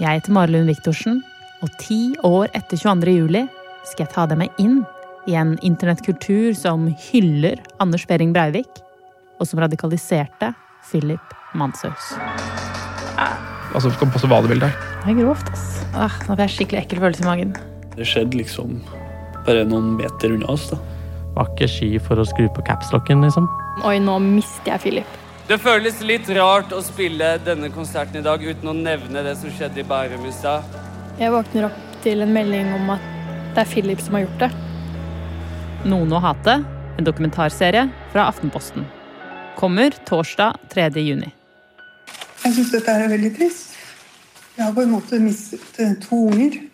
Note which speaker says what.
Speaker 1: Jeg heter Marilyn Viktorsen, og ti år etter 22. juli skal jeg ta deg med inn i en internettkultur som hyller Anders Behring Breivik, og som radikaliserte Philip Manshaus.
Speaker 2: Altså, skal passe hva du vil der.
Speaker 1: Det er grovt, ass. Åh, Ah, nå får jeg skikkelig ekkel følelse i magen.
Speaker 3: Det skjedde liksom bare noen meter unna oss, da.
Speaker 4: Var ikke ski for å skru på capslocken, liksom.
Speaker 5: Oi, nå mister jeg Philip.
Speaker 6: Det føles litt rart å spille denne konserten i dag uten å nevne det som skjedde i Bærum i stad.
Speaker 5: Jeg våkner opp til en melding om at det er Philip som har gjort det.
Speaker 1: Noen å hate, en dokumentarserie fra Aftenposten. Kommer torsdag 3. juni.
Speaker 7: Jeg syns dette her er veldig trist. Jeg har på en måte mistet eh, to unger.